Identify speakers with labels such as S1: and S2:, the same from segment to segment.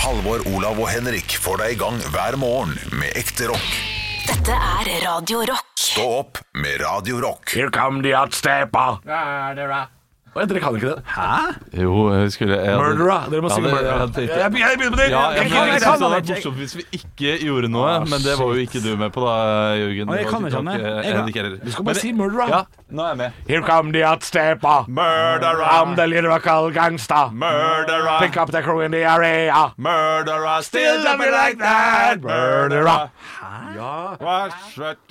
S1: Halvor, Olav og Henrik får deg i gang hver morgen med ekte rock.
S2: Dette er Radio Rock.
S1: Stå opp med Radio Rock.
S3: Here come the outstepper. Hva heter det? Kan ikke det? Hæ?
S4: Jo, jeg skulle jeg hadde-
S3: Murdera. Dere må
S4: Ja,
S3: synge
S4: det-
S3: Murdera.
S4: jeg hadde ikke-
S3: Jeg be- jeg begynner på det.
S4: Ja, jeg,
S3: Jeg
S4: jeg,
S3: kan- jeg
S4: synes det
S3: kan det.
S4: hadde
S3: sånn
S4: vært morsomt hvis vi ikke gjorde noe,
S3: Ah,
S4: men det var jo ikke du med på da,
S5: Ah,
S4: Jørgen.
S5: jeg
S4: Det var
S5: kan ikke han, jeg. Jeg
S4: ikke-
S5: kan-
S4: Henrik heller.
S3: Du skal bare
S4: Men-
S3: si murderer.
S4: Ja, nå er jeg med.
S3: Here come the outstepper. I'm the lyrical gangster.
S4: Murderer,
S3: Pick up the crew in the area.
S4: murderer, still
S3: love me like that, murderer.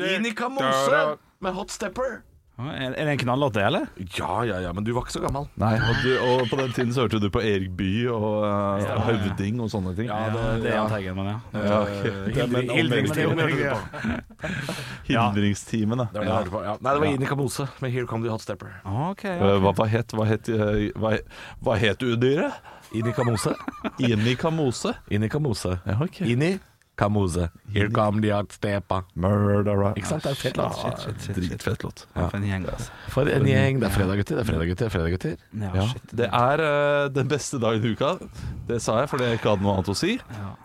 S3: Inika Mose med Hot Stepper.
S5: Er er det en knallåt, det, eller?
S3: Ja, ja, ja, men du var ikke så gammel.
S4: Nei, og, du, og på den tiden så hørte du på Erik By og eh, Høvding og sånne ting.
S5: det er Jahn Teigen, men ja.
S4: Ja, ok. Det er- men om-
S3: Hildringstimen.
S4: Hildringstimen, da.
S3: Det var det jeg hørte på, ja. Nei, det var Inika Mose med Here come the hot stepper.
S5: Ah, Ok,
S4: Eh, Hva, hva het hva het, eh, hva, hva het udyret?
S3: Inika Mose.
S4: Inika Mose?
S3: Inika Mose.
S4: Ja, ok.
S3: Inni Kamose. Here come the hot stepper.
S4: Murderer.
S3: Ikke sant? Det er en fet låt.
S4: Shit, shit, shit, shit. Dritfett låt.
S5: for en gjeng, altså.
S3: For en gjeng. Det er fredag, gutter. Det er fredag, gutter. Det er fredag, gutter.
S5: Ja,
S4: Ja,
S5: shit.
S4: det er eh, den beste dagen i uka. Det sa jeg fordi jeg ikke hadde noe annet å si.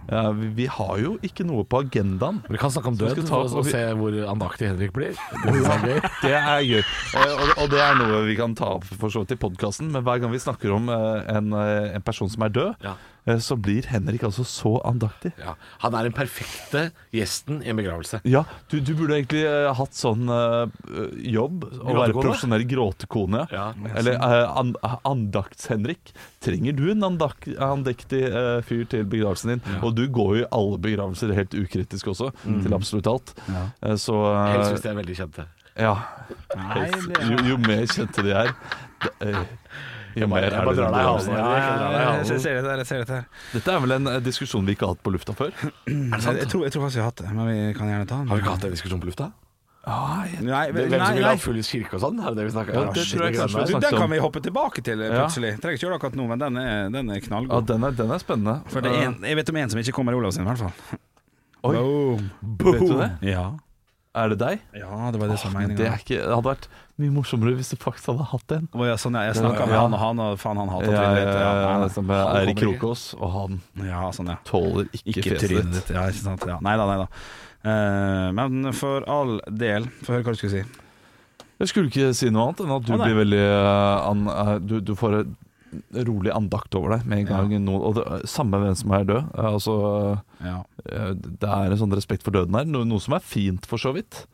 S4: Eh, vi, vi har jo ikke noe på agendaen.
S3: Vi kan snakke om
S4: skal
S3: død
S4: ta
S3: og,
S4: opp-
S3: og se hvor andaktig Henrik blir. Det er gøy.
S4: Det er gøy. Og, og, og det er noe vi kan ta opp for så vidt i podkasten, men hver gang vi snakker om eh, en, eh, en person som er død,
S3: Ja.
S4: eh, så blir Henrik altså så andaktig.
S3: Ja. Han er den perfekte gjesten i en begravelse.
S4: Ja, du, du burde egentlig eh, hatt sånn eh, jobb. Å være
S3: Gråtekone?
S4: profesjonell gråtekone.
S3: Ja.
S4: Eller eh, an, andakts-Henrik. Trenger du en andak, andektig eh, fyr til begravelsen din? Og du går jo i alle begravelser helt ukritisk også, til absolutt alt. Eh, så eh,
S3: Mm. Helst hvis de er veldig kjente.
S4: Ja.
S5: Nei, det
S4: Jo, jo mer kjente de er, det- eh, jo mer
S3: jeg
S4: er
S3: bare
S4: det
S3: drar deg i halsen.
S4: begravelsen.
S3: Ja, ja, ja, ja.
S5: Jeg ser dette, her, jeg ser dette. her.
S4: Dette er vel en eh, diskusjon vi ikke har hatt på lufta før?
S5: Jeg, jeg, tror, jeg tror faktisk jeg har hatt det, men vi kan gjerne ta den.
S3: Har vi ikke hatt den diskusjonen på lufta? Ah,
S5: Nei,
S3: Hvem
S5: nei,
S3: som ville
S5: nei.
S3: ha Fullys kirke og sånn? Er liksom det det vi snakker
S4: Ja,
S3: om?
S4: det tror jeg
S5: Du,
S4: kanskje vi
S5: den
S4: snakket
S5: kan
S4: om.
S5: vi hoppe tilbake til eh,
S4: Ja.
S5: plutselig. Trenger ikke gjøre det akkurat nå, men den er, den er
S4: Ja,
S5: knallgod.
S4: den er, den er spennende.
S5: For det er en, jeg vet om en som ikke kommer i Olav sin, i hvert fall.
S4: Oi.
S5: Boom.
S4: Vet du det?
S5: Ja.
S4: Eh, Er det deg?
S5: ja, det var det som var
S4: Det, er
S5: meninga.
S4: ikke, det hadde vært mye morsommere hvis du faktisk hadde hatt en.
S5: Å, ja, Sånn, ja, jeg snakka med
S4: Ja.
S5: han og han, og faen, han hater
S4: Ja,
S5: trynet
S4: ja,
S5: ditt. Ja,
S4: ja,
S5: nei,
S4: som er
S5: Han
S4: Eirik
S5: kommer ikke.
S4: Krokås, og han
S5: nei. ja, sånn, ja.
S4: tåler ikke,
S5: Ikke
S4: fjeset
S5: trynet
S4: ditt.
S5: ditt. Ja, ikke sant. Ja. Nei da, nei da. Eh, men for all del Få høre hva du skulle si.
S4: Jeg skulle ikke si noe annet enn at du
S5: Å, nei.
S4: blir veldig eh, an, eh, du, du får en rolig andakt over deg med en gang noen Og det, samme hvem som er død. eh, Altså,
S5: Ja.
S4: eh, det er en sånn respekt for døden her, noe, noe som er fint, for så vidt.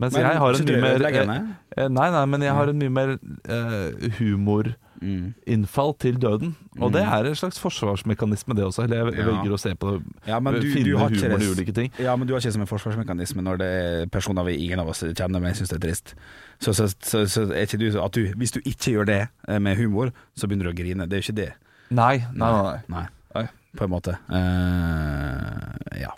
S4: Mens
S5: Men
S4: jeg har en
S5: ikke
S4: mye mer
S5: ødelegge
S4: eh,
S5: henne?
S4: eh, Nei, nei, men jeg har en mye mer eh, humor
S5: Mm.
S4: innfall til døden. Og det er en slags forsvarsmekanisme, det også. Eller jeg
S5: Ja.
S4: velger å se på det.
S5: Ja, men du,
S4: finne
S5: du har ikke
S4: humor i
S5: res-
S4: ulike ting.
S5: Ja, men du har ikke som en forsvarsmekanisme når det er personer vi ingen av oss kjenner, men jeg syns det er trist. Så, så, så, så er ikke du så- at du Hvis du ikke gjør det eh, med humor, så begynner du å grine. Det er jo ikke det.
S4: Nei, nei, nei. nei.
S5: Nei.
S4: Nei.
S5: På en måte. Eh, ja.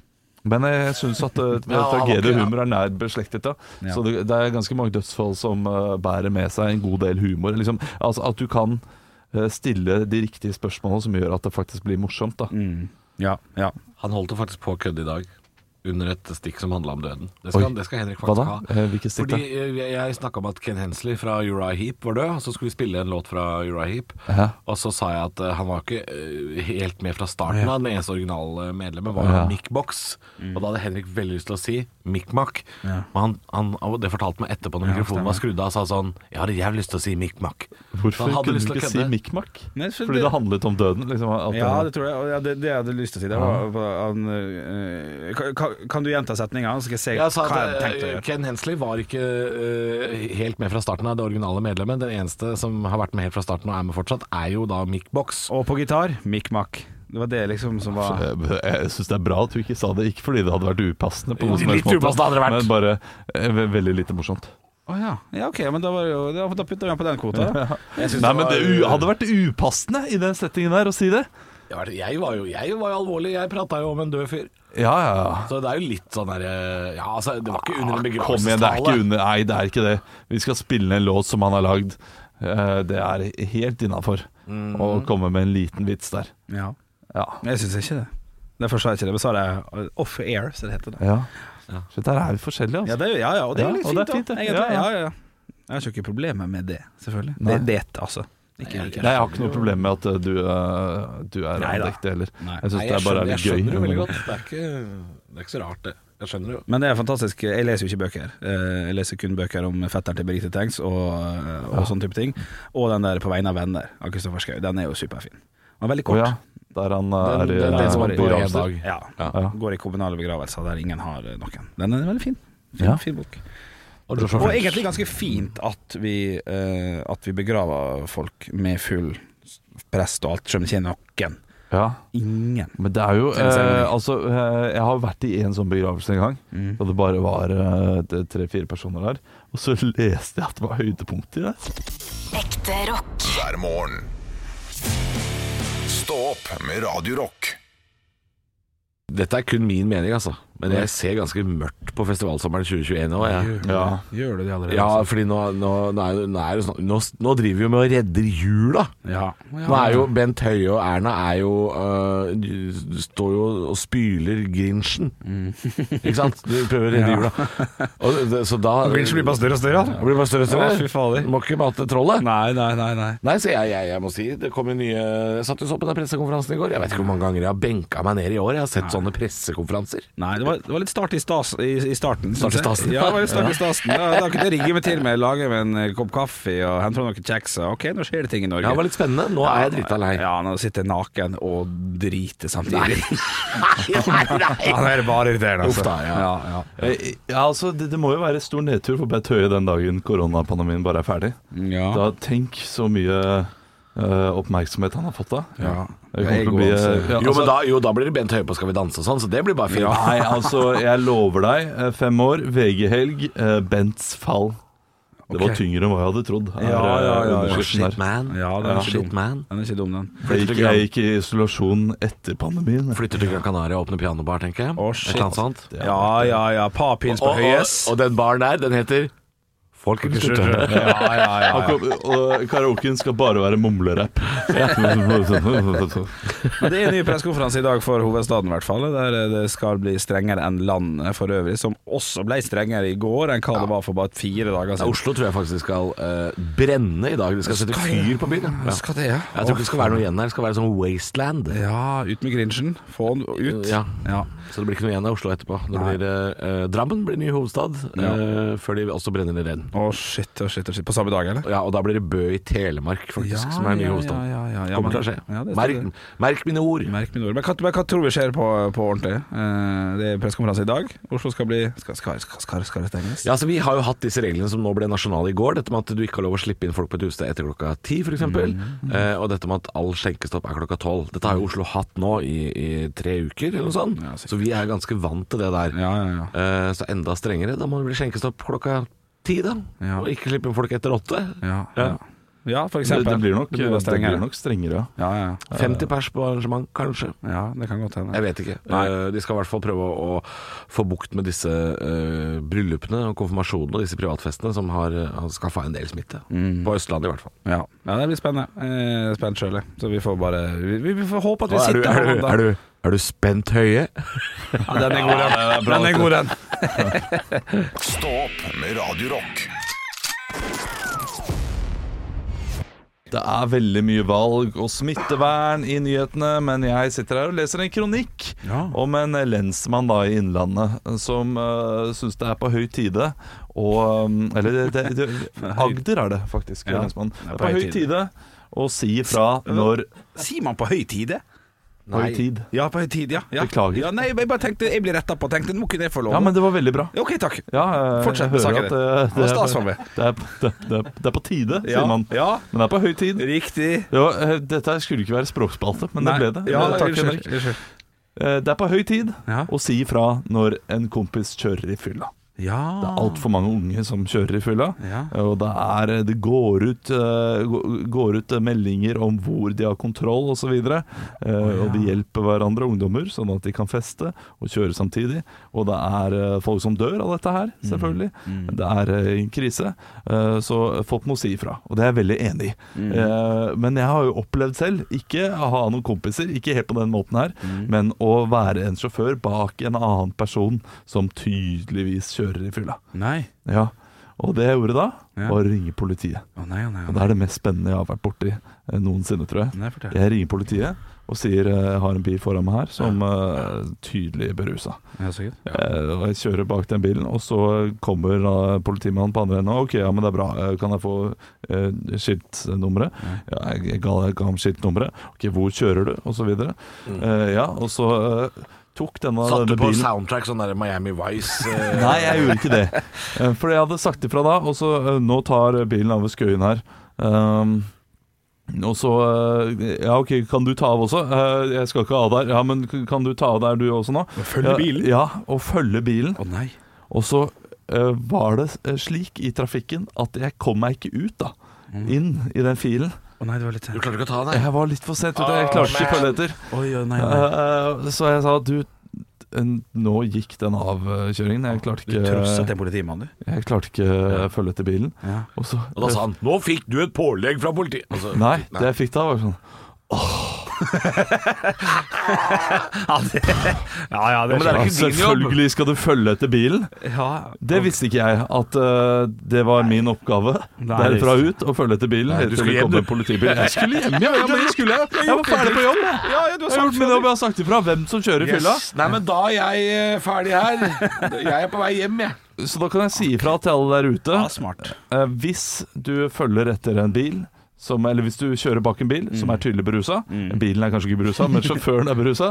S4: Men jeg syns at uh,
S3: Ja,
S4: tragedie
S3: ja.
S4: og humor er nær beslektet. Da.
S5: Ja.
S4: Så det, det er ganske mange dødsfall som uh, bærer med seg en god del humor. Liksom, altså At du kan uh, stille de riktige spørsmålene som gjør at det faktisk blir morsomt. Da.
S5: Mm. Ja, ja.
S3: Han holdt jo faktisk på å kødde i dag. Under et stikk som handla om døden. Det
S4: Oi.
S3: skal, det skal Henrik
S4: Hva
S3: faktisk
S4: da?
S3: ha.
S4: Eh, Hvilket stikk
S3: Fordi
S4: da?
S3: eh, jeg- Jeg snakka om at Ken Hensley fra Uriah Heap var død, og så skulle vi spille en låt fra Uriah Heap.
S4: Ja.
S3: Og så sa jeg at eh, han var ikke eh, helt med fra starten av. Den eneste originale eh, medlemmet var
S4: Ja.
S3: Mick Box. Og da hadde Henrik veldig lyst til å si Mick Mack. Men han, han, og det fortalte meg etterpå når mikrofonen var skrudd av, sa sånn Jeg hadde jævlig lyst til å si Mick Mack. Så
S4: Hvorfor
S3: han hadde
S4: kunne
S3: lyst
S4: du
S3: til å
S4: ikke si
S3: kødde.
S4: mikmak?
S5: Nei, for
S4: Fordi
S5: det-
S4: det handlet om døden? Liksom, at
S5: ja,
S4: det,
S5: det tror jeg. og Ja, det, det jeg hadde lyst til å si, det var var han, eh, ka- ka- Kan du gjenta setninga, så skal jeg se
S3: Jeg sa
S5: hva jeg
S3: at
S5: tenkte å
S3: eh,
S5: gjøre?
S3: Ken Hensley var ikke eh, helt med fra starten av, det originale medlemmet. Den eneste som har vært med helt fra starten og er med fortsatt, er jo da Mick Box.
S5: Og på gitar, Mikk Makk. Det var det liksom som var
S4: Jeg, Eh, jeg syns det er bra at du ikke sa det, ikke fordi det hadde vært upassende, på noen som helst
S3: Litt upassende hadde det vært.
S4: men bare eh, ve- veldig lite morsomt.
S5: Å ja. ja. Ok, men da, var det jo, da, da putter vi den på den kvota. da. Jeg synes
S4: Nei, men
S5: var-
S4: det u- hadde vært upassende i den settingen der å si det.
S3: Ja, Jeg var jo, jeg var jo alvorlig, jeg prata jo om en død fyr.
S4: Ja, ja, ja.
S3: Så det er jo litt sånn der eh, Ja, altså, det var ikke under en
S4: Ah, Kom igjen, det er ikke
S3: begravelsestale.
S4: under Nei, det er ikke det. Vi skal spille en låt som han har lagd. Eh, Det er helt innafor å komme med en liten vits der.
S5: Ja.
S4: Ja.
S5: Men Jeg syns ikke det. Derfor sa jeg ikke det. Men sa det eh, off air, så det heter det.
S4: ja. Så der er vi forskjellige,
S5: Ja,
S4: altså.
S5: det er, jo- ja, ja og det er jo
S4: Ja,
S5: litt
S4: og det
S5: fint,
S4: er fint,
S5: da.
S4: det.
S5: Egentlig.
S4: Ja,
S5: Ja,
S4: ja.
S5: ja, ja. Jeg har ikke noe problemer med det, selvfølgelig.
S4: Nei.
S5: Det, det, altså. Ikke like.
S4: Nei, jeg har ikke noe problem med at eh, du, eh, du er
S5: Nei da.
S4: andektig heller.
S5: Nei.
S4: Jeg syns
S3: Nei,
S4: det er bare er
S3: jeg
S4: litt
S3: skjønner jo veldig
S4: gøy.
S3: godt. Det er, ikke, det er ikke så rart, det. Jeg skjønner jo.
S5: Men det er fantastisk. Jeg leser jo ikke bøker. Eh, Jeg leser kun bøker om fetteren til Birgitte Tengs og, eh, og sånne type ting. Og den der På vegne av venner av Kristoffer Schau. Den er jo superfin. Den er veldig
S4: Å
S5: kort.
S4: ja. Der han eh,
S3: Den-
S4: er i
S3: den
S4: eh,
S3: leser man på en
S4: begravelser.
S3: dag.
S5: Ja.
S4: Ja.
S5: Går i kommunale begravelser der ingen har eh, noen. Den er veldig fin. Fin,
S4: Ja.
S5: fin bok.
S3: Og Joshua
S5: Og
S3: French.
S5: egentlig ganske fint at vi, eh, at vi begraver folk med full s- prest og alt, selv om det ikke er noen.
S4: Ja.
S5: Ingen.
S4: Men det er jo
S5: En
S4: eh,
S5: seremoni.
S4: Altså, eh, jeg har vært i en sånn begravelse en gang. Da det bare var eh, tre-fire personer der. Og så leste jeg at det var høydepunkter der.
S2: Ekte rock.
S1: hver morgen. Stå opp med Radio Rock.
S3: Dette er kun min mening, altså. Men jeg ser ganske mørkt på festivalsommeren 2021 òg, jeg.
S4: Ja.
S5: Gjør du det allerede?
S3: Ja, fordi nå, nå, nå, er, jo- nå, er, jo sånn- nå, nå driver vi jo med å redde jula.
S5: Ja.
S3: Nå er jo Bent Høie og Erna er jo øh, de står jo og spyler Grinchen. Ikke sant? De prøver å redde jula. Og det, så da
S5: Grinchen blir bare større og større, han.
S3: Ja, blir bare større og større.
S5: Å, fy fader.
S3: Må ikke mate trollet.
S5: Nei, nei, nei. nei.
S3: Nei, så jeg, jeg, jeg må si Det kom jo nye Jeg satt jo så på den pressekonferansen i går. Jeg vet ikke hvor mange ganger jeg har benka meg ned i år. Jeg har sett sånne pressekonferanser.
S5: Nei, det var, det var litt start i, stas, i, i starten.
S3: Start i
S5: synes jeg.
S3: stasen.
S5: Ja, det var litt start i stasen. Ja, da kunne jeg rigge meg til med å lage meg en eh, kopp kaffe og hente fram noen kjeks. og Ok, nå skjer det ting i Norge.
S3: Ja, det var litt spennende. Nå er jeg drita lei.
S5: Ja, nå sitter jeg naken og driter samtidig.
S3: Nei, nei.
S5: Ja, nå er det bare irriterende, altså.
S3: Uff da, ja.
S5: ja.
S4: Eh, Ja, altså, det, det må jo være stor nedtur for Bent Høie den dagen koronapandemien bare er ferdig.
S5: Ja.
S4: Da Tenk så mye eh, oppmerksomhet han har fått da.
S5: Ja.
S4: Det kommer til
S5: Jeg
S4: å bli
S5: går
S4: eh,
S5: altså-
S4: ja,
S3: Jo, men
S4: altså-
S3: da, jo, da blir det Bent Høie på Skal vi danse og sånn, så det blir bare fint.
S4: Nei, altså, jeg lover deg. eh, Fem år, VG-helg, eh, Bents fall. Det var
S5: Ok.
S4: tyngre enn hva jeg hadde trodd. er,
S5: Ja, ja, ja,
S4: eh,
S5: ja.
S4: underskriften her.
S3: man.
S5: Ja, den er ikke dum. Den er ikke dum, den.
S4: Jeg gikk, jeg gikk i isolasjon etter pandemien.
S3: Flytter til Gran Canaria og åpner pianobar, tenker jeg.
S5: Å, shit.
S3: Et eller annet sånt.
S5: Ja, ja, ja. Papins på
S3: Og, og,
S5: høyes.
S3: og den baren der, den heter Folkets Slutte.
S5: Ja, ja, ja.
S4: Han kom- Og eh, karaoken skal bare være mumlerapp.
S5: Men det er en ny pressekonferanse i dag for hovedstaden, i hvert fall. Der eh, det skal bli strengere enn landet for øvrig, som også ble strengere i går enn hva det var for bare fire dager
S3: Ja,
S5: siden.
S3: Oslo tror jeg faktisk de skal eh, brenne i dag. De skal sette fyr på byen. ja. Ja.
S5: Skal det, ja.
S3: Jeg tror ikke det skal være noe igjen her. Det skal være sånn wasteland.
S5: Ja, ut med Grinchen. Få den ut.
S3: Ja.
S5: Ja.
S3: Så det blir ikke noe igjen av Oslo etterpå. Det
S5: Nei.
S3: blir, eh, Drammen blir ny hovedstad, eh, før de også brenner ned den.
S5: Å, shit, å, shit, å, shit. På samme dag, eller?
S3: Ja, og da blir det Bø i Telemark, faktisk,
S5: Ja,
S3: som er ny
S5: ja,
S3: hovedstad.
S5: ja, ja, ja,
S3: Kommer
S5: men-
S3: til å skje.
S5: ja, det
S3: merk,
S5: står det.
S3: merk mine ord.
S5: Merk mine ord. Men hva, men hva tror vi skjer på, på ordentlig? Eh, det er pressekonferanse i dag. Oslo skal bli Skal, skal, skal, skal, skal det stenges?
S3: Ja, altså Vi har jo hatt disse reglene som nå ble nasjonale i går. Dette med at du ikke har lov å slippe inn folk på et utested etter klokka ti, f.eks.
S5: Mm.
S3: Eh, og dette med at all skjenkestopp er klokka tolv. Dette har jo Oslo hatt nå i, i tre uker, eller noe sånt.
S5: Ja, sikkert.
S3: så vi er ganske vant til det der.
S5: Ja, ja, ja.
S3: Eh, så enda strengere. Da må det bli skjenkestopp klokka ti, da.
S5: Ja.
S3: Og ikke slippe inn folk etter åtte.
S5: Ja,
S3: Ja.
S5: ja. ja for
S4: Det,
S5: eksempel.
S4: det blir nok, eh,
S5: Det blir
S4: det
S5: strengere.
S4: blir nok strengere, ja.
S5: Ja, ja,
S3: 50 pers på arrangement, kanskje.
S5: ja. ja, det kan godt hende.
S3: Jeg vet ikke. Eh, de skal i hvert fall prøve å, å få bukt med disse eh, bryllupene og konfirmasjonene og disse privatfestene som har, har skaffa en del smitte.
S5: Mm.
S3: På Østlandet, i hvert fall.
S5: Ja, ja det blir spennende. Eh, spent sjøl, jeg. Så vi får bare Vi, vi, vi får håpe at
S3: er,
S5: vi
S3: du,
S5: sitter
S3: er, du,
S5: her.
S3: er, du, er du spent høye?
S5: Ja, den er god, den. Den er god, den.
S1: Stå opp med Radio Rock.
S4: Det er veldig mye valg og smittevern i nyhetene, men jeg sitter her og leser en kronikk
S5: Ja.
S4: om en lensmann da i Innlandet som uh, syns det er på høy tide å eh, Eller det, det, det, Agder er det faktisk.
S5: Ja.
S4: lensmann.
S5: Det
S4: Det er på høy tide å si ifra
S5: Øh,
S4: når
S5: Sier man på høy tide?
S4: Høy tid.
S5: Ja, på høy tid, ja. ja.
S4: Beklager.
S5: Ja, nei, jeg bare tenkte Jeg ble retta på og tenkte nå kunne jeg få lov.
S4: Ja, men det var veldig bra.
S5: OK, takk.
S4: Ja, eh,
S5: Fortsett med
S4: jeg hører
S5: saken
S4: at,
S5: din.
S4: eh,
S5: Det var stas for
S4: det,
S5: meg.
S4: er, det, er- det, er- det er på tide,
S5: Ja,
S4: sier man.
S5: ja.
S4: Men det er på høy tid.
S5: Riktig.
S4: Jo, eh, dette skulle ikke være språkspalte, men
S5: Nei.
S4: det ble det.
S5: Ja,
S4: Eh, Takk,
S5: unnskyld,
S4: Henrik.
S5: unnskyld.
S4: Eh, Det er på høy tid
S5: Ja.
S4: å si ifra når en kompis kjører i fylla.
S5: Ja.
S4: Det er altfor mange unge som kjører i fylla.
S5: Ja.
S4: Og det, er, det går, ut, eh, gå- går ut meldinger om hvor de har kontroll osv. Og, oh, og de hjelper hverandre, ungdommer, sånn at de kan feste og kjøre samtidig. Og det er eh, folk som dør av dette her, selvfølgelig. Det er eh, en krise. Eh, Så folk må si ifra. Og det er jeg veldig enig i. Eh, Men jeg har jo opplevd selv, ikke å ha noen kompiser, ikke helt på den måten her, men å være en sjåfør bak en annen person som tydeligvis kjører i fylla.
S5: Nei.
S4: Ja, Og det jeg gjorde da,
S5: Ja.
S4: var å ringe politiet.
S5: Å nei, å nei, å nei.
S4: Og det er det mest spennende jeg har vært borti eh, noensinne, tror jeg.
S5: Nei, fortell.
S4: Jeg ringer politiet og sier eh, jeg har en bil foran meg her som eh, tydelig berusa.
S5: Ja, så gutt.
S4: Eh, og jeg kjører bak den bilen, og så kommer eh, politimannen på andre enden. og, Ok, ja, men det er bra. Eh, Kan jeg få eh, skiltnummeret? Ja, jeg, jeg, ga, jeg ga ham skiltnummeret. Ok, hvor kjører du? Og så videre.
S5: Mm.
S4: Eh, ja, og så eh, tok denne,
S3: Satt du
S4: denne
S3: på
S4: bilen
S3: soundtrack sånn der Miami Vice? eh,
S4: Nei, jeg gjorde ikke det. Eh, For jeg hadde sagt ifra da, og så eh, Nå tar bilen av ved Skøyen her. Ehm, og så eh, Ja, OK, kan du ta av også? Eh, jeg skal ikke av der. Ja, men k- kan du ta av der du også nå?
S5: følge
S4: Ja,
S5: bilen?
S4: Ja, og følge bilen.
S5: Å nei.
S4: Og så eh, var det eh, slik i trafikken at jeg kom meg ikke ut, da.
S5: Mm.
S4: Inn i den filen.
S5: Å nei, det var litt
S3: Du
S5: sent.
S3: klarte ikke å ta den?
S4: Jeg var litt for sent ute, jeg klarte ikke å følge etter.
S5: Oi, å nei, å nei.
S4: Eh, så jeg sa du en- nå gikk den avkjøringen. Jeg klarte
S5: Du trosset
S4: ikke
S5: en politimann, du.
S4: Jeg klarte ikke å følge etter bilen.
S5: Ja.
S4: Og så
S3: Og da sa han 'Nå fikk du et pålegg fra politiet'. Altså,
S4: Nei, det jeg fikk da, var sånn
S5: Ja, det, ja, ja, det,
S3: men det er ikke din
S4: ja,
S3: jobb.
S4: Selvfølgelig skal du følge etter bilen.
S5: ja.
S4: Det visste ikke jeg, at eh, det var min oppgave
S5: Nei,
S4: derfra
S5: det
S4: ut å følge etter bilen. helt
S3: du
S4: til
S3: skulle
S4: det
S3: hjem,
S4: kom
S3: du.
S4: en politibil. Jeg skulle hjem, ja, ja, men jeg skulle jeg. Jeg var ferdig på jobb.
S5: Ja,
S4: Jeg
S5: ja, du har
S4: har
S5: sagt
S4: gjort min jobb, jeg har sagt ifra hvem som kjører fylla.
S3: Nei, men da er jeg eh, ferdig her. Jeg er på vei hjem, jeg.
S4: Så da kan jeg si ifra til alle der ute.
S5: Ja, smart.
S4: Eh, hvis du følger etter en bil som, eller hvis du kjører bak en bil som er tydelig berusa Bilen er kanskje ikke berusa, men sjåføren er berusa.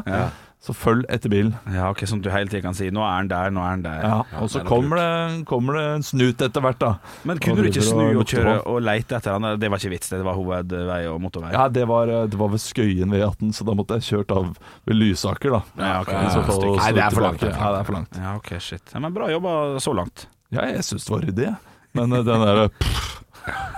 S4: Så følg etter bilen.
S5: Ja, ok, Sånn at du hele tiden kan si 'nå er han der, nå er han der'.
S4: Ja, og så kommer det, kommer det en snut etter hvert, da.
S5: Men
S4: Og
S5: kunne du ikke
S4: driver
S5: snu og
S4: lukter
S5: kjøre
S4: på.
S5: og leite etter han? Det var ikke vits, det var hovedvei og motorvei.
S4: Ja, det var, eh, det var ved Skøyen ved E18, så da måtte jeg kjørt av ved Lysaker, da.
S5: Ja, ok.
S4: I så fall
S3: stygt.
S4: snudd
S3: Nei, det er for langt,
S4: tilbake.
S3: det er for langt.
S4: Ja, det er for langt.
S5: Ja, ok, shit. Ja, men Bra jobba så langt.
S4: Ja, jeg syns det var ryddig, jeg. men eh, den derre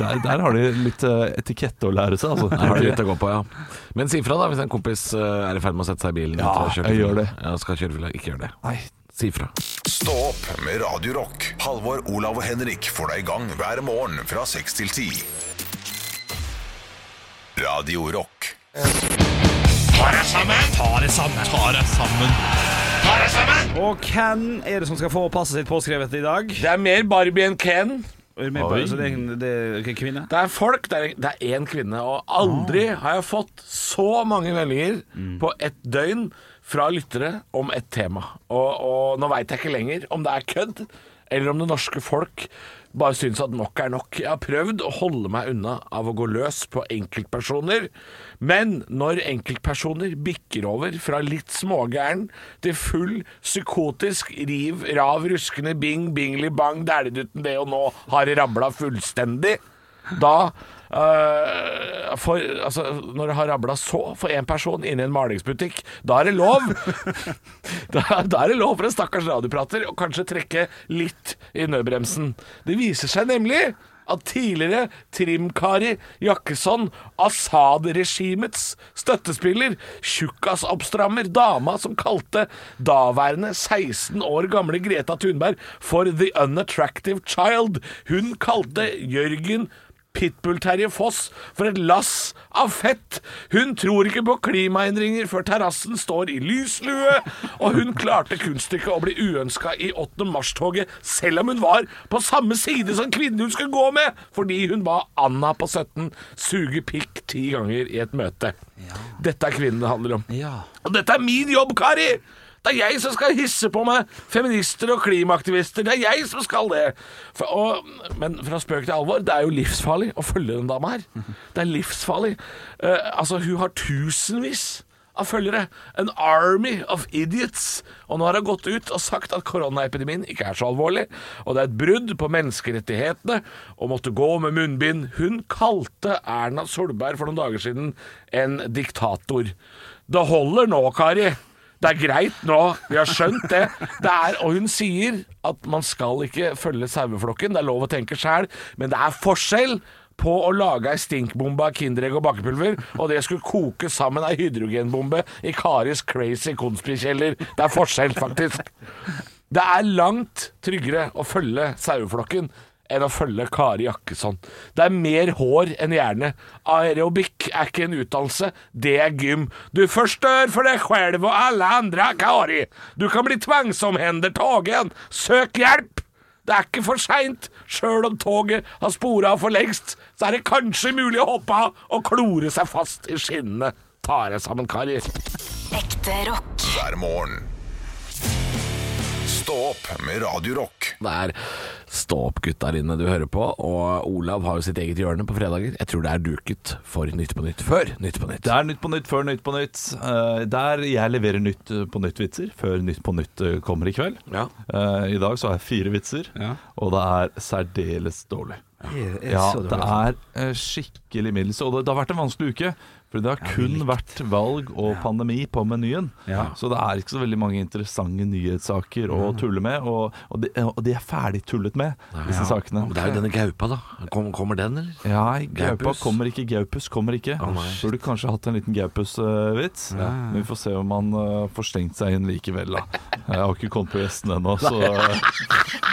S4: der, der har de litt eh, etikette å lære seg, altså.
S3: Da har du litt å gå på, ja. Men si ifra, da, hvis en kompis eh, er i ferd med å sette seg i bilen.
S4: Ja,
S3: etter å ha kjørt
S4: jeg
S3: i fylla.
S4: gjør det.
S3: Ja, skal kjøre fylla. Ikke gjør det.
S4: Nei,
S3: Si ifra.
S1: Stå opp med Radio Rock. Halvor, Olav og Henrik får deg i gang hver morgen fra 6 til 10. Radio Rock.
S5: Og hvem er det som skal få passet sitt påskrevet i dag?
S6: Det er mer Barbie enn Ken.
S5: Er du med på det? Så det er en det er en kvinne?
S6: Det er folk, det er, det er én kvinne. Og aldri har jeg fått så mange meldinger på ett døgn fra lyttere om et tema. Og, og nå veit jeg ikke lenger om det er kødd, eller om det norske folk bare syns at nok er nok. Jeg har prøvd å holde meg unna av å gå løs på enkeltpersoner, men når enkeltpersoner bikker over fra litt smågæren til full psykotisk riv, rav, ruskende bing, bingli, bang, dæledutten, det og nå har det rabla fullstendig da eh, for, altså, Når det har rabla så for én person inne i en malingsbutikk, da er det lov! da, da er det lov for en stakkars radioprater å kanskje trekke litt i nødbremsen. Det viser seg nemlig at tidligere trimkari Jakkesson, Assad-regimets støttespiller, tjukkasoppstrammer, dama som kalte daværende 16 år gamle Greta Thunberg for The Unattractive Child, hun kalte Jørgen Pitbull-Terje Foss for et lass av fett. Hun tror ikke på klimaendringer før terrassen står i lyslue, og hun klarte kunststykket å bli uønska i 8. mars-toget, selv om hun var på samme side som kvinnen hun skulle gå med, fordi hun ba Anna på 17 suge pikk ti ganger i et møte. Dette er kvinnen det handler om. Og dette er min jobb, Kari! Det er jeg som skal hisse på meg feminister og klimaaktivister. Det er jeg som skal det. For, og, men fra spøk til alvor, det er jo livsfarlig å følge den dama her. Det er livsfarlig. Eh, altså, hun har tusenvis av følgere. An army of idiots. Og nå har hun gått ut og sagt at koronaepidemien ikke er så alvorlig, og det er et brudd på menneskerettighetene å måtte gå med munnbind. Hun kalte Erna Solberg for noen dager siden en diktator. Det holder nå, Kari. Det er greit nå, vi har skjønt det. det er, og hun sier at man skal ikke følge saueflokken, det er lov å tenke sjæl, men det er forskjell på å lage ei stinkbombe av Kinderegg og bakepulver, og det skulle koke sammen ei hydrogenbombe i Karis crazy konspikjeller. Det er forskjell, faktisk. Det er langt tryggere å følge saueflokken enn å følge Kari Jakkesson. Det er mer hår enn hjerne. Aerobic er ikke en utdannelse, det er gym. Du forstør for deg selv og alle andre, Kari. Du kan bli tvangsomhendertagen. Søk hjelp! Det er ikke for seint. Sjøl om toget har spora av for lengst, så er det kanskje mulig å hoppe av og klore seg fast i skinnene. Tar jeg sammen, karer.
S2: Ekte rock.
S1: hver morgen. Stå opp med Radio Rock.
S6: Det er Stå opp, gutt der inne du hører på. Og Olav har jo sitt eget hjørne på fredager. Jeg tror det er duket for Nytt på nytt før Nytt på nytt.
S4: Det er Nytt på Nytt før Nytt på Nytt. Eh, der jeg leverer Nytt eh, på Nytt-vitser før Nytt på Nytt eh, kommer i kveld.
S6: Ja.
S4: Eh, I dag så har jeg fire vitser,
S5: Ja.
S4: og det er særdeles dårlig. Ja, det
S6: sånn.
S4: er eh, skikkelig middels. Og det, det har vært en vanskelig uke. For det har kun vært valg og pandemi på menyen.
S5: Ja.
S4: Så det er ikke så veldig mange interessante nyhetssaker
S6: Mm.
S4: å tulle med. Og, og, de, og de er ferdig tullet med, disse sakene.
S6: Men det er jo denne gaupa, da. Kom, kommer den, eller?
S4: Ja, Gaupa
S6: Gaupus.
S4: kommer ikke, Gaupus kommer ikke.
S6: Å, nei.
S4: Burde kanskje hatt en liten Gaupus-vits. Men vi får se om han eh, får stengt seg inn likevel, da. Jeg har ikke kommet på gjestene ennå, så eh,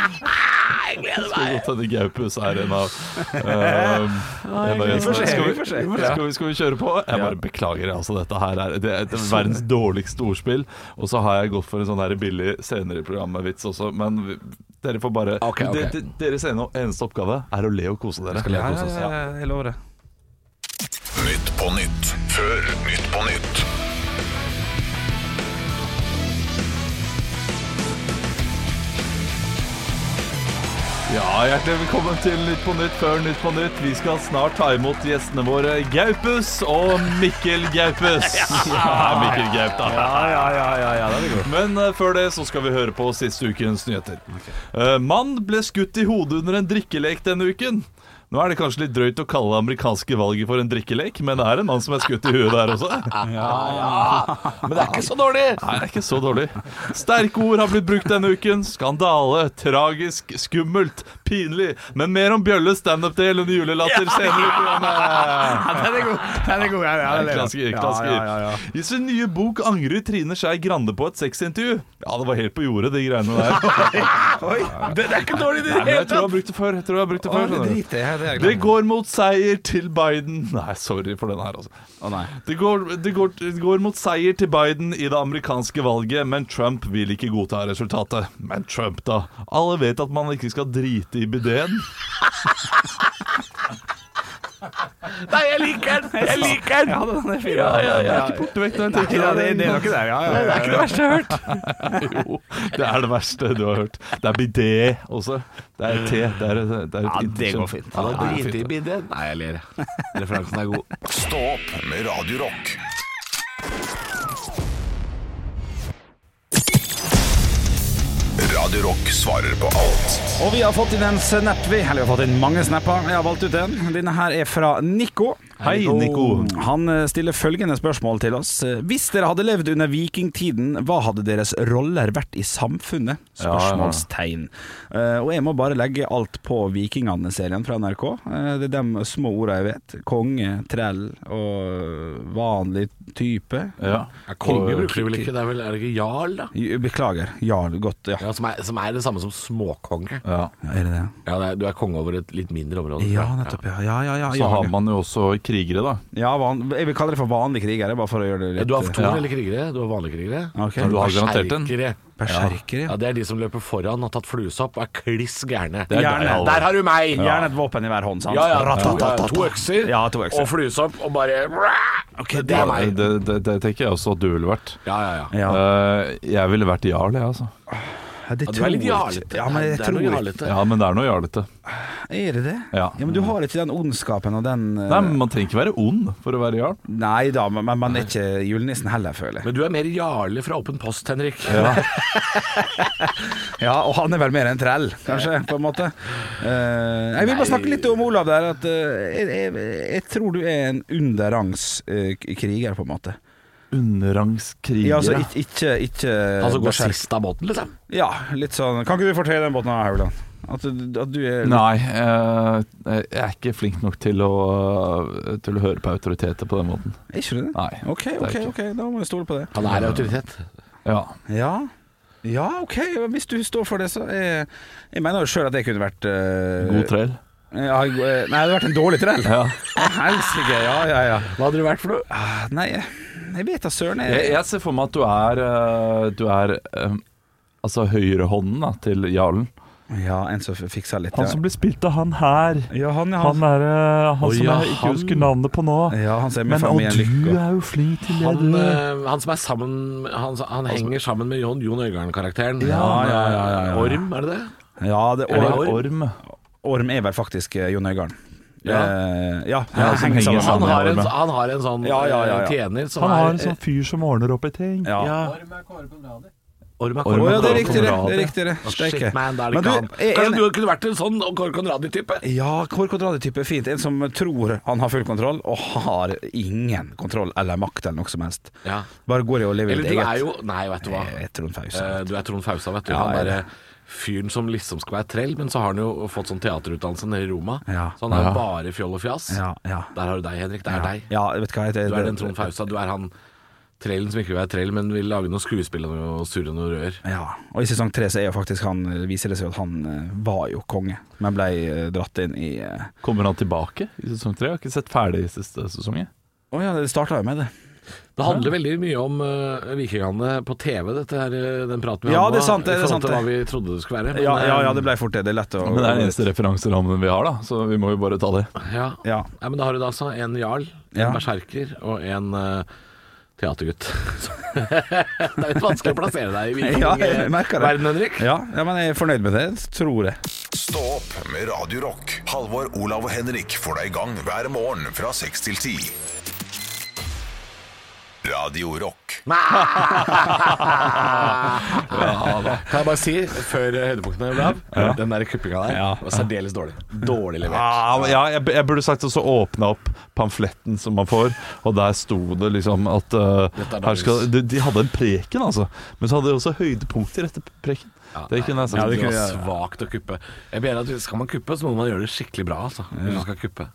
S4: Det Skal godt hende Gaupus er en av eh, en av
S5: vi får
S4: gjestene.
S5: se,
S4: Skal
S5: vi får se, vi får se.
S4: Skal vi, skal vi kjøre på? Jeg bare beklager, altså. Dette her er, det er et verdens dårligste ordspill. Og så har jeg gått for en sånn her billig senere i programmet-vits også, men vi, dere får bare
S6: Ok, ok.
S4: De- de- Deres ene- eneste oppgave er å le og kose dere.
S5: Ja, ja, ja, ja, jeg lover det.
S1: Nytt på nytt før Nytt på nytt.
S4: Ja, Hjertelig velkommen til Nytt på Nytt før Nytt på Nytt. Vi skal snart ta imot gjestene våre Gaupus og Mikkel Gaupus. Ja, Mikkel Gaup, da. Men eh, før det så skal vi høre på siste ukens nyheter. Eh, mann ble skutt i hodet under en drikkelek denne uken. Nå er det kanskje litt drøyt å kalle det amerikanske valget for en drikkelek, men det er en mann som er skutt i huet der også.
S6: Men det er ikke så dårlig!
S4: Nei, det er ikke så dårlig. Sterke ord har blitt brukt denne uken. Skandale, tragisk, skummelt, pinlig. Men mer om Bjølle standup-del under julelatter senere i programmet.
S5: Ja, den er god. Den er god. Ja, ja, den er god.
S4: Klassiker.
S5: Ja,
S4: klassiker.
S5: ja, ja, ja.
S4: I sin nye bok angrer Trine Skei Grande på et sexintervju. Ja, det var helt på jordet, de greiene der.
S6: Det, det er ikke dårlig i det
S4: Nei, men jeg
S6: hele
S4: tror jeg
S6: tatt!
S4: har brukt det før. Jeg tror jeg har brukt det
S5: Å,
S4: før
S5: det
S4: skjønner du.
S5: driter jeg i. Det er jeg
S4: Det
S5: glad for.
S4: går mot seier til Biden. Nei, sorry for den her, altså.
S5: Å, nei.
S4: Det går, det, går, det går mot seier til Biden i det amerikanske valget, men Trump vil ikke godta resultatet. Men Trump, da. Alle vet at man ikke skal drite i bideen.
S6: Nei, jeg liker den! Jeg liker
S5: Ja,
S6: den!
S5: den er fin.
S6: Ja, ja, ja.
S4: Borte vekk når jeg tenker
S5: Ja,
S4: på
S5: det,
S4: det.
S5: det er noe der, ja, ja, ja, ja.
S4: Jo, det er det verste du har hørt. Det er bidé også. Det er te. Det er, det er et
S5: Ja, det går
S4: interkjønn.
S5: fint.
S4: Ja, det er fint.
S6: Nei, jeg ler. Referansen er god.
S1: Stå opp med Radio Rock. Radio Rock svarer på alt
S5: Og vi har fått inn en snap, vi. Eller vi har fått inn mange snapper. Jeg har valgt ut en. Denne her er fra Nico.
S4: Hei, Nico.
S5: Han eh, stiller følgende spørsmål til oss. Eh, Hvis dere hadde levd under vikingtiden, hva hadde deres roller vært i samfunnet? Spørsmålstegn. Eh, Og jeg må bare legge alt på Vikingane-serien fra NRK. Eh, Det er de små ordene jeg vet. Konge, trell og vanlig type.
S4: Ja.
S6: Konge bruker de vel ikke? Det er vel er det ikke jarl, da?
S5: J- Beklager. Jarl. Godt, ja.
S6: Ja, som, er, som er det samme som småkonge.
S4: Ja.
S5: Er det det?
S6: Ja, det er, Du er konge over et litt mindre område.
S5: Ja, nettopp. Ja, ja, ja. ja,
S4: Så
S5: jarl,
S4: har
S5: ja.
S4: man jo også krigere, da.
S5: Ja, van, jeg vil kalle det for vanlige krigere, bare for å gjøre det litt
S6: Ja, du har to eller krigere. Du har vanlige krigere.
S5: Ok.
S4: Du har garantert en.
S6: Berserkere.
S5: Berserkere, Mm. ja.
S6: Ja, Det er de som løper foran, har tatt fluesopp og er kliss gærne.
S5: er Gjerne. deg, Halvor.
S6: Der har du meg!
S5: Gjerne et våpen i hver hånd, sant?
S6: Ja, ja, to, ja,
S5: Ratatatata.
S6: to økser
S5: Ja, to økser.
S6: og fluesopp og bare
S5: Ok,
S6: Det
S5: det-
S6: er meg.
S4: Det, det, det tenker jeg også at du ville vært.
S6: Ja, ja, ja.
S5: Ja.
S4: Eh, jeg ville vært jarl, jeg, altså.
S5: Ja, det
S6: Ja, Du
S5: tror
S6: er litt
S5: jeg ikke.
S6: jarlete.
S5: Ja, men jeg
S6: Det er
S5: tror
S6: noe
S5: ikke-
S6: jarlete.
S4: Ja, men det er noe jarlete.
S5: Er det det?
S4: Ja.
S5: men du har ikke den ondskapen og den eh,
S4: Nei, men Man trenger ikke være ond for å være jarl.
S5: Nei da, men men man er ikke julenissen heller, føler jeg.
S6: Men du er mer jarle fra Åpen post, Henrik.
S5: Ja, og han er vel mer en trell, kanskje, på en måte. Eh, jeg vil bare snakke litt om Olav der. At, eh, jeg, jeg, jeg tror du er en underrangs eh, k- kriger, på en måte.
S4: Underrangskriger.
S5: Ja, altså ikke, ikke, ikke
S6: Han som Altså, går
S5: berserk.
S6: sist av båten, liksom.
S5: Ja, litt sånn Kan ikke du fortelle den båten her, Haugland? At, du- at du er
S4: Nei, eh, jeg er ikke flink nok til å, til å høre på autoriteter på den måten.
S5: Er ikke du det?
S4: Nei,
S5: Ok,
S4: det er
S5: ok,
S4: ikke.
S5: ok, da må jeg stole på det.
S6: Han er autoritet.
S4: Ja.
S5: Ja, ja ok, hvis du står for det, så er Jeg mener jo sjøl at jeg kunne vært eh,
S4: God trell.
S5: Ja, jeg- eh, nei, jeg hadde vært en dårlig trell.
S4: Ja.
S5: Å, Helsike, ja, ja, ja.
S6: Hva hadde du vært for noe?
S5: Ah, Nei, jeg- jeg vet da søren.
S4: Jeg,
S5: Jeg,
S4: jeg ser for meg at du er, eh, du er eh, altså høyrehånden da, til jarlen.
S5: Ja, en som fiksa litt.
S4: Han
S5: ja.
S4: som blir spilt av han her.
S5: ja, han, ja,
S4: Han,
S5: han,
S4: er, eh, han
S3: Å,
S4: som
S3: ja,
S4: jeg ikke
S3: han.
S4: husker navnet på nå.
S5: ja, han ser med
S4: Men og
S5: familien
S4: du
S5: Lykke.
S4: er jo flink til det,
S5: Mm.
S6: Han,
S4: du.
S6: eh, han som er sammen Han, han henger sammen med Jon, Jon Øigarden-karakteren.
S5: ja, ja, ja, ja.
S6: Orm, er det det?
S5: Ja, det,
S4: Det er
S5: Orm,
S4: Orm.
S5: Orm er vel faktisk eh, Jon Øigarden.
S6: Ja.
S5: Eh, ja,
S4: Ja,
S5: han
S4: som
S5: henger
S4: henger
S5: sammen.
S6: Han
S5: sammen.
S4: sammen.
S6: har en,
S4: Orm, ja.
S6: han har en sånn
S5: Ja, ja, ja, ja.
S6: eh, tjener som
S4: Han har en
S6: er
S4: sånn fyr som ordner opp i ting.
S5: Ja.
S6: ja. Orm er
S4: Orm
S5: Å
S6: Kåre
S5: ja, det er
S6: Conradi.
S5: riktig, det. det er riktig det.
S6: Å,
S5: Steike.
S6: Shit, man, da er det
S5: Men du,
S6: ikke han.
S5: er-
S6: Kanskje
S5: er-
S6: du kunne vært en sånn Kåre Conradi-type?
S5: Ja, Kåre Konradi-type er fint. En som tror han har full kontroll, og har ingen kontroll eller makt eller noe som helst.
S6: Ja.
S5: Bare går i og lever i
S6: Eller
S5: ditt
S6: du
S5: eget.
S6: er jo Nei, vet du hva.
S5: Jeg er Trond Fausa.
S6: Eh, Du er Trond Fausa, vet du.
S5: Ja,
S6: han
S5: jeg er
S6: derre fyren som liksom skal være trell, men så har han jo fått sånn teaterutdannelse nede i Roma.
S5: Ja.
S6: Så han er
S5: Ja.
S6: jo bare fjoll og fjas.
S5: Ja, ja.
S6: Der har du deg, Henrik. Det er
S5: ja.
S6: deg.
S5: Ja, vet du hva jeg heter?
S6: Du er den Trond Fausa. Du er han trellen som ikke vil være trell, men vil lage noe skuespill og noe- og surre noe rør.
S5: Ja, og i sesong tre så er jo faktisk han viser det seg at han eh, var jo konge, men ble eh, dratt inn i eh,
S4: Kommer han tilbake i sesong tre? Jeg har ikke sett ferdig i siste sesong. jeg.
S5: Å ja, det starta jo med det.
S6: Det handler veldig mye om uh, vikingene på TV, dette her, eh, den praten vi
S5: Ja, det
S6: hadde
S5: er
S6: nå,
S5: sant, det- det
S6: i
S5: er
S6: forhold
S5: sant,
S6: til hva vi trodde det skulle være. men,
S5: Ja, ja, ja,
S6: eh,
S5: det ble fort det. Det er lett å
S4: Men det er den eneste referanserammen vi har, da, så vi må jo bare ta det.
S6: eh, ja.
S5: Ja.
S6: Nei, men da har du da altså en jarl, en
S5: Ja.
S6: berserker og en eh, teatergutt. Så- det er litt vanskelig å plassere deg i eh,
S5: Ja, jeg merker det.
S6: vikingverden, Henrik.
S5: Ja, ja, men jeg er fornøyd med det, tror jeg.
S1: Stå opp med Radio Rock. Halvor, Olav og Henrik får deg i gang hver morgen fra 6 til 10. Radio Rock.
S6: Kan jeg bare si, før eh, høydepunktene ble av, den der klippinga der
S5: Ja.
S6: var særdeles dårlig. Dårlig levert.
S4: Ja, men Ah, ja jeg, b- jeg burde sagt også åpna opp pamfletten som man får, og der sto det liksom at eh,
S6: Dette er
S4: her skal,
S6: dagens.
S4: de, de hadde en preken, altså. Men så hadde de også høydepunkter etter preken. det kunne jeg sagt.
S6: Altså, det var svakt å kuppe. Jeg mener at Skal man kuppe, så må man gjøre det skikkelig bra. Altså, hvis man skal kuppe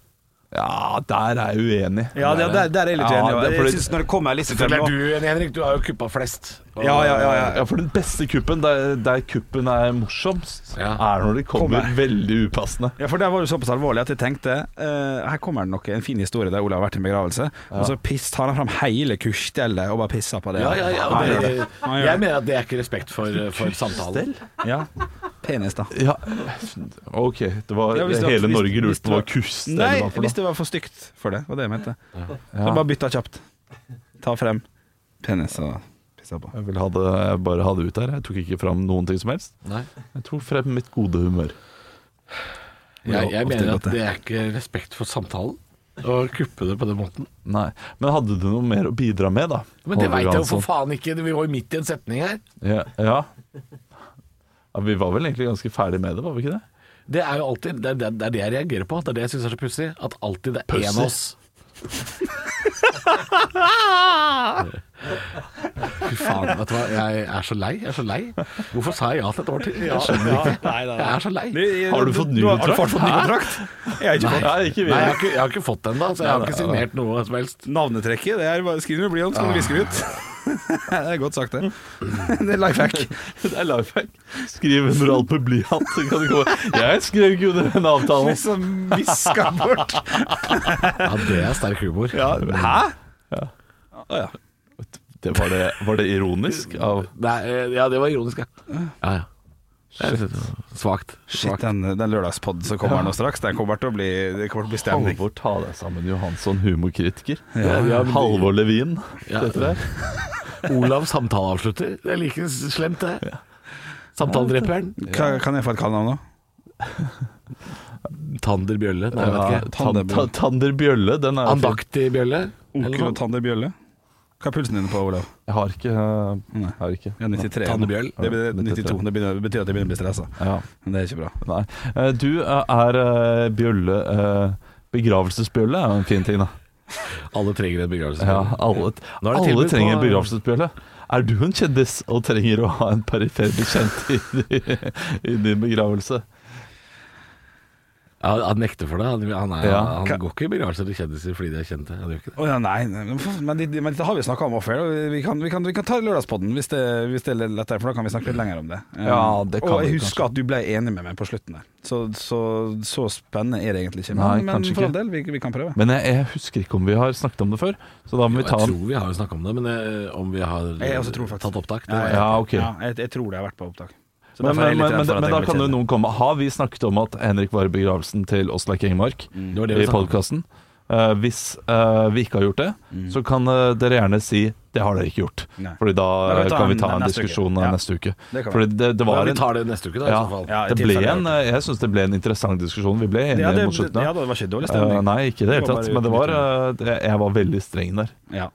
S4: Ja, der er jeg uenig.
S5: Ja, der, der, der er jeg litt
S4: Ja,
S5: uenig.
S4: det er fordi-
S5: Jeg synes når det kommer litt sånn-
S6: Selvfølgelig er du enig, Henrik. Du har jo kuppa flest. Og-
S5: Ja, ja, ja, ja.
S4: Ja, for den beste kuppen, der, der kuppen er morsomst,
S6: Ja.
S4: er når de kommer
S5: Kommer.
S4: veldig upassende.
S5: Ja, for det var jo såpass alvorlig at jeg tenkte eh, Her kommer det nok en fin historie der Olav har vært i en begravelse Og så piss, tar han fram hele kursstellet og bare pisser på det
S6: Ja, ja, ja,
S5: Han
S6: og
S5: gjør
S6: det,
S5: det. Han gjør
S6: jeg
S5: det.
S6: mener at det er ikke respekt for, eh, for samtalen.
S5: Ja, penis da
S4: Ja, OK. Det var
S5: Ja, hvis det var-
S4: hele
S5: hvis-
S4: Norge
S5: hvis
S4: lurte
S5: det
S4: på hva
S5: var-
S4: kust det
S5: Nei,
S4: var for
S5: hvis
S4: noe.
S5: det var for stygt for det, var det jeg mente Så bare bytta kjapt Ta frem penis og pisser på
S4: Jeg ville ha det, jeg bare ha det ut der. Jeg tok ikke fram noen ting som helst.
S6: Nei.
S4: Jeg tok frem mitt gode humør.
S6: Jeg, jeg
S5: ofte
S6: mener
S5: godt,
S6: at det er ikke respekt for samtalen å kuppe det på den måten.
S4: Nei, Men hadde du noe mer å bidra med, da?
S6: Men det
S4: Holger
S6: veit jeg jo
S4: Johansson?
S6: for faen ikke. Vi var jo midt i en setning her.
S4: Ja, ja. ja Vi var vel egentlig ganske ferdig med det, var vi ikke det?
S6: Det er jo alltid Det er det, det, er det jeg reagerer på. Det er det jeg syns er så pussig. At alltid det er
S4: Pussy.
S6: én av oss. Fy faen, vet du hva. Jeg er så lei. Jeg er så lei. Hvorfor sa jeg ja til et år til? Jeg skjønner ikke. Jeg er så lei.
S4: Har du fått ny
S5: har- Har du
S4: kontrakt?
S5: fått ny kontrakt? Jeg har ikke fått
S4: Nei, ikke vi.
S6: Nei, jeg har ikke, jeg har ikke fått den ennå, så jeg har ikke signert noe som helst.
S5: Navnetrekket, det er bare skriv med blyant, så kan du viske det ut Det er godt sagt det Det er life hack
S4: Det er life hack. Skriv under alt med blyant. så kan du komme. Jeg skrev ikke under den avtalen.
S5: Liksom visker bort
S6: Ja, det er sterk humor.
S5: Hæ? Ah,
S4: Det var, det, var det ironisk? Av
S6: Nei, eh, ja, det var ironisk, ja. ja, ja. Det er litt Svakt.
S5: Shit, den, den lørdagspodden som kommer nå straks, den kommer til å bli, det kommer til å bli stemning.
S4: Halvor, ta deg sammen, Johansson, humorkritiker.
S6: Ja, ja, men-
S4: Halvor Levin.
S6: Ja.
S4: Dette der.
S6: Olav samtaleavslutter. Det er like slemt, det. Samtaledreperen.
S5: Hva, kan jeg få et kallenavn nå?
S6: Tander Bjølle. Nei, jeg vet ikke.
S4: Tan- ta- Tander Bjølle, den er fin.
S6: Andaktig Bjølle. Eller
S5: Onkel
S6: noe.
S5: og Tande Bjølle? Hva er pulsen din på, Olav?
S4: Jeg har ikke,
S5: Nei.
S4: jeg har ikke.
S5: Ja, 93.
S6: Tande Bjøll.
S5: Det blir 92. Det, begynner, det betyr at jeg begynner å bli stressa.
S4: Ja,
S5: Men det er ikke bra.
S4: nei. Eh, Du eh, er eh, bjølle eh, Begravelsesbjølle er jo en fin ting, da.
S6: Alle trenger en begravelse.
S4: Ja, alle
S6: Nå er det
S4: alle
S6: tilbud på-
S4: trenger en begravelsesbjølle. Er du en kjendis og trenger å ha en perifer bekjent i, i din begravelse?
S6: Ja, han nekter for det. Han, han, er,
S4: Ja.
S6: han
S5: Ka-
S6: går ikke i begravelse til kjendiser fordi de er kjente. Han gjør ikke det.
S5: Å ja, nei, nei, men for- men, det- men dette har vi snakka om off-air. og Vi, kan- vi, kan- vi kan ta lørdagspodden hvis det, hvis det er lettere, for da kan vi snakke litt lenger om det. Eh,
S4: Ja, det kan
S5: og jeg
S4: vi
S5: husker at du ble enig med meg på slutten der. Så, så, så spennende er det egentlig ikke.
S4: Nei,
S5: Men, men
S4: kanskje
S5: for all
S4: ikke.
S5: del, vi, vi kan prøve.
S4: Men jeg, jeg husker ikke om vi har snakket om det før, så da må vi
S6: Jeg
S4: ta en
S6: tror vi har jo snakka om det, men eh, om vi har
S5: Jeg også tror faktisk
S6: tatt opptak? Det
S5: Ja,
S6: vet jeg
S4: Ja, ok.
S5: Ja, jeg, jeg tror det har vært på opptak. Så er bare
S4: Men,
S5: for jeg er
S4: men,
S5: litt redd
S4: men, men,
S5: for at jeg
S4: da
S5: blir
S4: kan jo
S5: kjedelig.
S4: noen komme Har vi snakket om at Henrik var i begravelsen til Åsleik Engmark
S5: Mm.
S7: var det vi
S4: i
S7: snakket om.
S4: podkasten? hvis eh, vi ikke har gjort det, så kan eh, dere gjerne si det har dere ikke gjort.
S5: Mm. Nei.
S4: Fordi da
S5: Da kan vi ta
S4: kan vi
S5: en
S4: ta en
S5: neste uke.
S4: diskusjon eh,
S5: Ja.
S4: neste uke.
S5: Det kan vi.
S4: Fordi det, det
S3: Ja,
S4: var
S3: vi
S4: en
S3: tar det neste uke, da.
S4: ja,
S3: i så fall.
S5: Ja, i
S4: det ble
S5: tilfelle jeg
S4: en, eh, jeg syns det ble en interessant diskusjon. Vi ble enige
S5: Ja, det,
S4: mot slutten.
S5: ja,
S4: av.
S5: det var ikke dårlig
S4: Eh,
S5: stemning.
S4: nei, ikke i det hele
S5: var
S4: tatt.
S5: bare
S4: Men det var,
S5: knyttet.
S4: eh, jeg- jeg var veldig streng der.
S5: ja.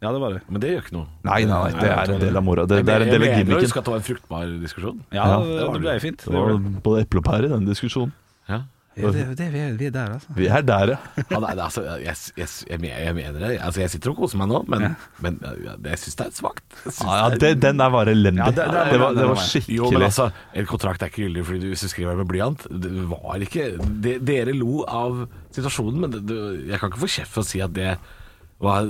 S5: ja, det var det.
S3: Men det gjør ikke noe.
S4: Nei, nei, nei, det er en del av mora. Det, det er en
S3: Jeg
S4: del av
S3: mener å
S4: gimmicken.
S3: huske at det var en fruktbar diskusjon.
S5: Ja,
S4: Ja,
S5: det,
S3: det var
S5: det ble fint.
S4: Det
S5: Det
S4: var
S5: gjorde det.
S4: både eple og pære i den diskusjonen.
S3: Ja.
S5: Ja, det, det, vi, er, vi er der, altså.
S4: Vi er der, ja.
S3: Ja, nei, det, altså, jeg, jeg, jeg, men- jeg mener det. Altså, jeg sitter og koser meg nå, men, men ja, det- jeg syns det er svakt. Jeg synes
S4: ja det, den der var elendig.
S5: Ja, det-
S4: det,
S5: det- det-
S4: var,
S5: det
S4: det
S5: var-
S4: var skikkelig
S3: Jo, men altså, en kontrakt er ikke gyldig fordi du, hvis du skriver med blyant. Det var ikke det, Dere lo av situasjonen, men det, det, jeg kan ikke få kjeft for å si at det var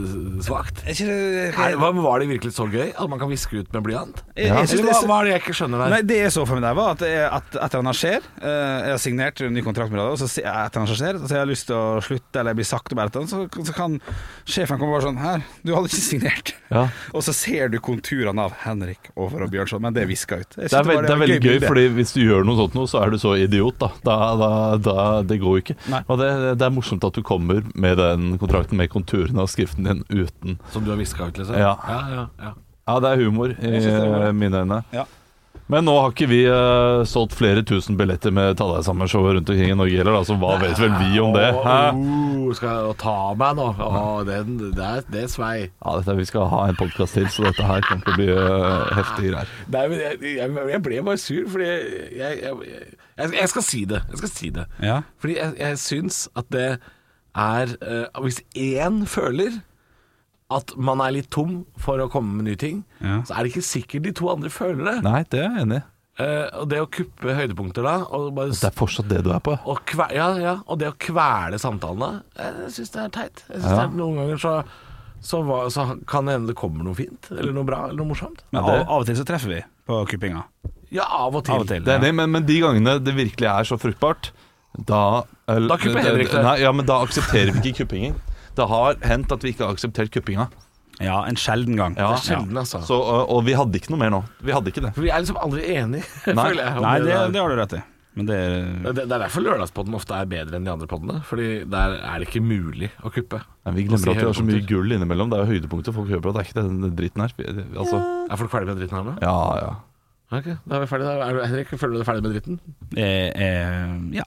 S3: svakt.
S5: Er ikke det-
S3: Er- hva- Var det virkelig så gøy at man kan viske ut med blyant?
S5: Jeg- jeg synes
S3: Eller
S5: det er
S3: hva,
S5: så-
S3: hva er det jeg ikke skjønner der?
S5: Nei, Det jeg så for meg der, var at, jeg- at et eller annet skjer. eh, Jeg har signert en ny kontrakt med deg, og så sier jeg et eller annet som skjer, og så jeg har lyst til å slutte, eller jeg blir sagt opp, eller et eller annet, så, så kan sjefen komme bare sånn Her, du hadde ikke signert.
S4: Ja.
S5: Og så ser du konturene av Henrik over og Bjørnson, men det er viska ut. Jeg synes
S4: Det er,
S5: bare
S4: veld, det er
S5: var et
S4: veldig gøy,
S5: bilde.
S4: fordi hvis du gjør noe sånt nå, så er du så idiot, da. da, da, da det går jo ikke.
S5: Nei.
S4: Og det, det er morsomt at du kommer med den kontrakten med konturene av skriften din uten
S3: Som du har viska ut, liksom?
S4: Ja.
S3: ja, ja, ja.
S4: Ja, det er humor i
S5: synes det er humor.
S4: eh, mine øyne.
S5: Ja.
S4: Men nå har ikke vi eh, solgt flere tusen billetter med Ta deg sammen-showet rundt omkring i Norge heller, da, så hva vet vel vi om det? Hæ?
S3: Åh, skal jeg ta meg nå? Åh, den, det, er, det er svei.
S4: Ja, dette, vi skal ha en podkast til, så dette her kommer til å bli eh, heftige greier.
S3: Nei, men jeg, jeg, jeg ble bare sur, fordi jeg, jeg, jeg, jeg skal si det. Jeg skal si det.
S5: Ja.
S3: Fordi jeg, jeg syns at det er eh, Hvis én føler at man er litt tom for å komme med nye ting,
S5: Ja.
S3: så er det ikke sikkert de to andre føler det.
S4: Nei, det er jeg enig i.
S3: Eh, og det å kuppe høydepunkter da, og bare
S4: Det er fortsatt det du er på. ja.
S3: Og, kve, ja, ja, og det å kvele samtalen da, eh, jeg syns det er teit. Jeg synes det er, noen ganger så, så, hva- så kan det hende det kommer noe fint, eller noe bra, eller noe morsomt.
S5: Men av, av og til så treffer vi på kuppinga.
S3: Ja, av og til.
S5: Av og til.
S4: Det er det, men, men de gangene det virkelig er så fruktbart, da eller-
S3: Da kupper Henrik det.
S4: Nei, ja, men da aksepterer vi ikke kuppingen. Det har hendt at vi ikke har akseptert kuppinga.
S5: Ja, en sjelden gang.
S4: Ja.
S3: Det er sjelden, altså.
S4: Så, og, og vi hadde ikke noe mer nå. Vi hadde ikke det.
S3: For vi er liksom aldri enige,
S4: Nei.
S3: føler jeg. om
S5: Nei, det,
S3: der.
S5: det har du rett i. Men det er
S3: Det, det er derfor Lørdagspodden ofte er bedre enn de andre poddene. Fordi der er det ikke mulig å kuppe.
S4: Men vi
S3: Og si
S4: glemmer at vi har så mye
S3: høydepunkter.
S4: gull innimellom. Det er jo høydepunkter folk hører på. Det er ikke den dritten her. Vi- Altså,
S3: Er folk ferdige med dritten her nå?
S4: ja, ja.
S3: Ok, da er vi ferdige. da. Er du, Henrik, føler du deg ferdig med dritten?
S5: eh, eh, Ja.